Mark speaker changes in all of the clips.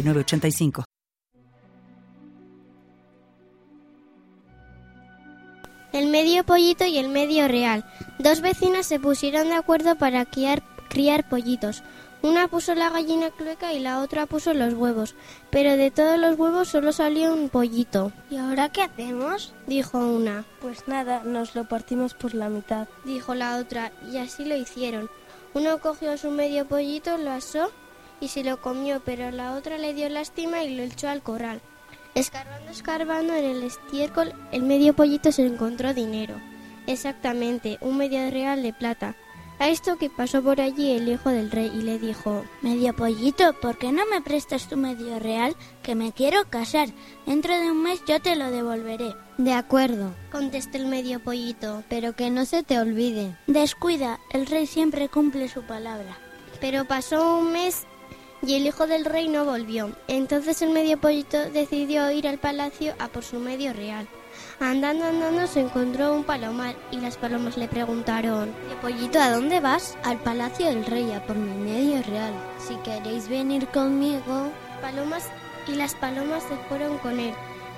Speaker 1: 985.
Speaker 2: El medio pollito y el medio real. Dos vecinas se pusieron de acuerdo para criar, criar pollitos. Una puso la gallina clueca y la otra puso los huevos, pero de todos los huevos solo salió un pollito.
Speaker 3: ¿Y ahora qué hacemos?
Speaker 2: dijo una.
Speaker 3: Pues nada, nos lo partimos por la mitad,
Speaker 2: dijo la otra, y así lo hicieron. Uno cogió su medio pollito, lo asó y se lo comió, pero la otra le dio lástima y lo echó al corral. Escarbando, escarbando en el estiércol, el medio pollito se encontró dinero. Exactamente, un medio real de plata. A esto que pasó por allí el hijo del rey y le dijo,
Speaker 4: Medio pollito, ¿por qué no me prestas tu medio real? Que me quiero casar. Dentro de un mes yo te lo devolveré.
Speaker 5: De acuerdo,
Speaker 2: contestó el medio pollito,
Speaker 5: pero que no se te olvide.
Speaker 4: Descuida, el rey siempre cumple su palabra.
Speaker 2: Pero pasó un mes y el hijo del rey no volvió. Entonces el medio pollito decidió ir al palacio a por su medio real. Andando, andando se encontró un palomar y las palomas le preguntaron,
Speaker 5: Pollito, ¿a dónde vas? Al palacio del rey a por mi medio real. Si queréis venir conmigo...
Speaker 2: Palomas y las palomas se fueron con él.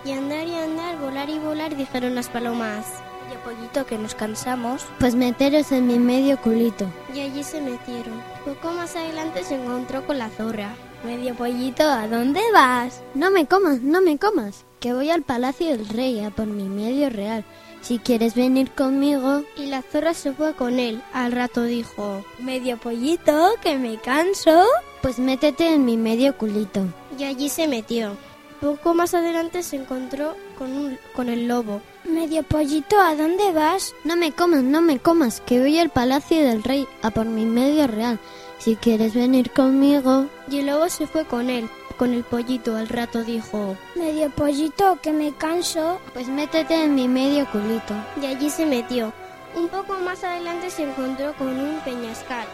Speaker 2: Y andar y andar, volar y volar, dijeron las palomas.
Speaker 3: Y pollito, que nos cansamos.
Speaker 5: Pues meteros en mi medio culito.
Speaker 2: Y allí se metieron. Poco más adelante se encontró con la zorra.
Speaker 3: Medio pollito, ¿a dónde vas?
Speaker 5: No me comas, no me comas, que voy al palacio del rey a por mi medio real. Si quieres venir conmigo.
Speaker 2: Y la zorra se fue con él. Al rato dijo:
Speaker 3: Medio pollito, que me canso.
Speaker 5: Pues métete en mi medio culito.
Speaker 2: Y allí se metió. Poco más adelante se encontró con, un, con el lobo.
Speaker 3: Medio pollito, ¿a dónde vas?
Speaker 5: No me comas, no me comas, que voy al palacio del rey a por mi medio real. Si quieres venir conmigo.
Speaker 2: Y el lobo se fue con él. Con el pollito al rato dijo:
Speaker 3: Medio pollito, que me canso.
Speaker 5: Pues métete en mi medio culito.
Speaker 2: Y allí se metió. Un poco más adelante se encontró con un peñascal.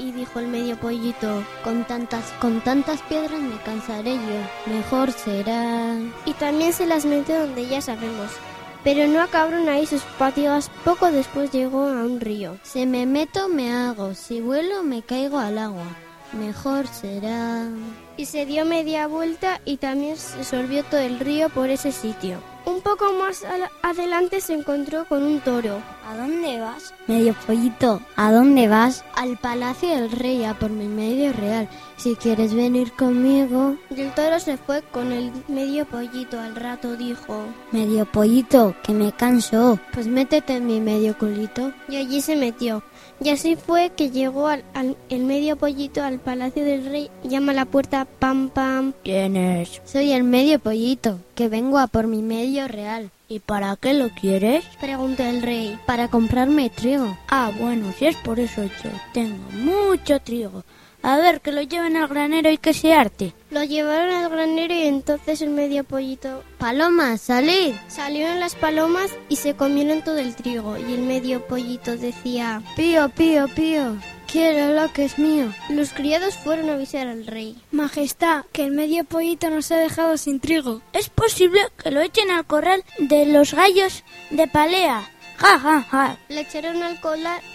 Speaker 2: Y, y dijo el medio pollito:
Speaker 5: Con tantas, con tantas piedras me cansaré yo. Mejor será.
Speaker 2: Y también se las metió donde ya sabemos. Pero no acabaron ahí sus patigas, poco después llegó a un río.
Speaker 5: Si me meto me hago, si vuelo me caigo al agua. Mejor será.
Speaker 2: Y se dio media vuelta y también se sorbió todo el río por ese sitio. Un poco más adelante se encontró con un toro.
Speaker 3: ¿A dónde vas?
Speaker 5: Medio pollito, ¿a dónde vas? Al palacio del rey, a por mi medio real. Si quieres venir conmigo.
Speaker 2: Y el toro se fue con el medio pollito. Al rato dijo:
Speaker 5: Medio pollito, que me canso. Pues métete en mi medio culito.
Speaker 2: Y allí se metió. Y así fue que llegó al, al, el medio pollito al palacio del rey, llama a la puerta pam pam.
Speaker 6: ¿Quién es?
Speaker 5: Soy el medio pollito, que vengo a por mi medio real.
Speaker 6: ¿Y para qué lo quieres?
Speaker 2: Preguntó el rey.
Speaker 5: Para comprarme trigo.
Speaker 6: Ah, bueno, si es por eso yo tengo mucho trigo. A ver, que lo lleven al granero y que se arte.
Speaker 2: Lo llevaron al granero y entonces el medio pollito...
Speaker 5: Palomas, salid.
Speaker 2: Salieron las palomas y se comieron todo el trigo y el medio pollito decía...
Speaker 5: Pío, pío, pío. Quiero lo que es mío.
Speaker 2: Los criados fueron a avisar al rey.
Speaker 3: Majestad, que el medio pollito nos ha dejado sin trigo.
Speaker 6: Es posible que lo echen al corral de los gallos de Palea. Ja, ja, ja.
Speaker 2: Le echaron al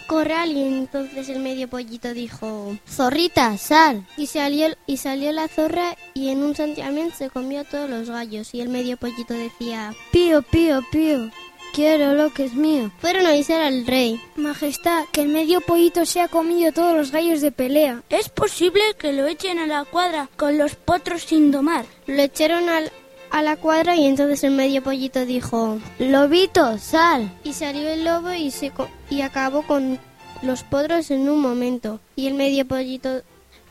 Speaker 2: corral y entonces el medio pollito dijo:
Speaker 5: Zorrita, sal.
Speaker 2: Y salió, y salió la zorra y en un santiamén se comió a todos los gallos. Y el medio pollito decía:
Speaker 5: Pío, pío, pío. Quiero lo que es mío.
Speaker 2: Fueron a avisar al rey.
Speaker 3: Majestad, que el medio pollito se ha comido todos los gallos de pelea.
Speaker 5: Eh,
Speaker 6: Es posible que lo echen a la cuadra con los potros sin domar.
Speaker 2: Lo echaron al, a la cuadra y entonces el medio pollito dijo,
Speaker 5: Lobito, sal.
Speaker 2: Y salió el lobo y, se co y acabó con los potros en un momento. Y el medio pollito,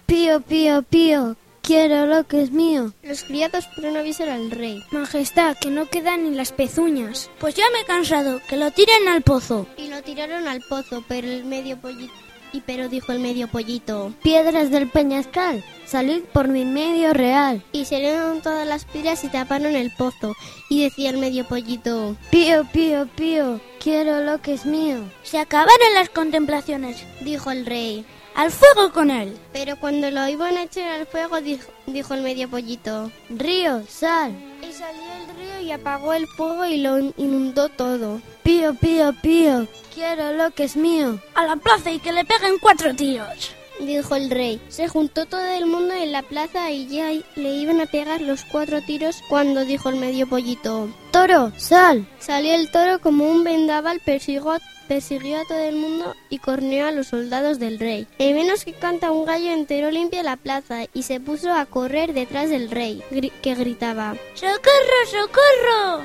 Speaker 5: pío, pío, pío, quiero lo que es mío.
Speaker 2: Los criados fueron a avisar al rey.
Speaker 3: Majestad, que no quedan ni las pezuñas.
Speaker 6: Pues ya me he cansado, que lo tiren al pozo.
Speaker 2: Y lo tiraron al pozo, pero el medio pollito... Y pero dijo el medio pollito,
Speaker 5: Piedras del peñascal, salid por mi medio real.
Speaker 2: y salieron todas las piedras y taparon el pozo. Y decía el medio pollito,
Speaker 5: Pío, pío, pío, quiero lo que es mío.
Speaker 6: Se acabaron las contemplaciones.
Speaker 2: dijo el rey.
Speaker 6: Al fuego con él.
Speaker 2: Pero cuando lo iban a echar al fuego, dijo, dijo el medio pollito.
Speaker 5: Río, sal.
Speaker 2: Y salió el río y apagó el fuego y lo inundó todo.
Speaker 5: Pío, pío, pío, quiero lo que es mío.
Speaker 6: A la plaza y que le peguen cuatro tiros.
Speaker 2: dijo el rey. Se juntó todo el mundo en la plaza y ya le iban a pegar los cuatro tiros cuando dijo el medio pollito.
Speaker 5: Toro, sal.
Speaker 2: Salió el toro como un vendaval, persiguió, persiguió a todo el mundo y corneó a los soldados del rey. En menos que canta un gallo entero limpia la plaza y se puso a correr detrás del rey, gri- que gritaba.
Speaker 6: ¡Socorro, socorro!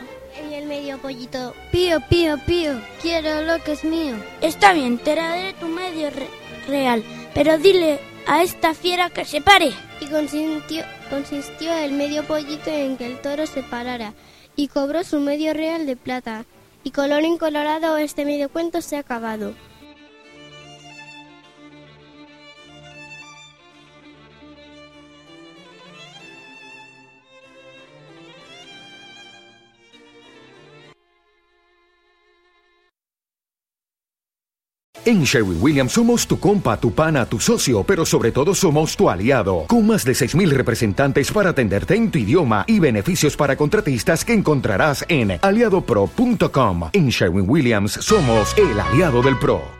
Speaker 2: Y el medio pollito
Speaker 5: Pío, pío, pío, quiero lo que es mío.
Speaker 6: Está bien, te daré tu medio re- real, pero dile a esta fiera que se pare.
Speaker 2: y consintió- consistió el medio pollito en que el toro se parara y cobró su medio real de plata. Y color incolorado este medio cuento se ha acabado.
Speaker 7: En Sherwin Williams somos tu compa, tu pana, tu socio, pero sobre todo somos tu aliado, con más de 6.000 representantes para atenderte en tu idioma y beneficios para contratistas que encontrarás en aliadopro.com. En Sherwin Williams somos el aliado del PRO.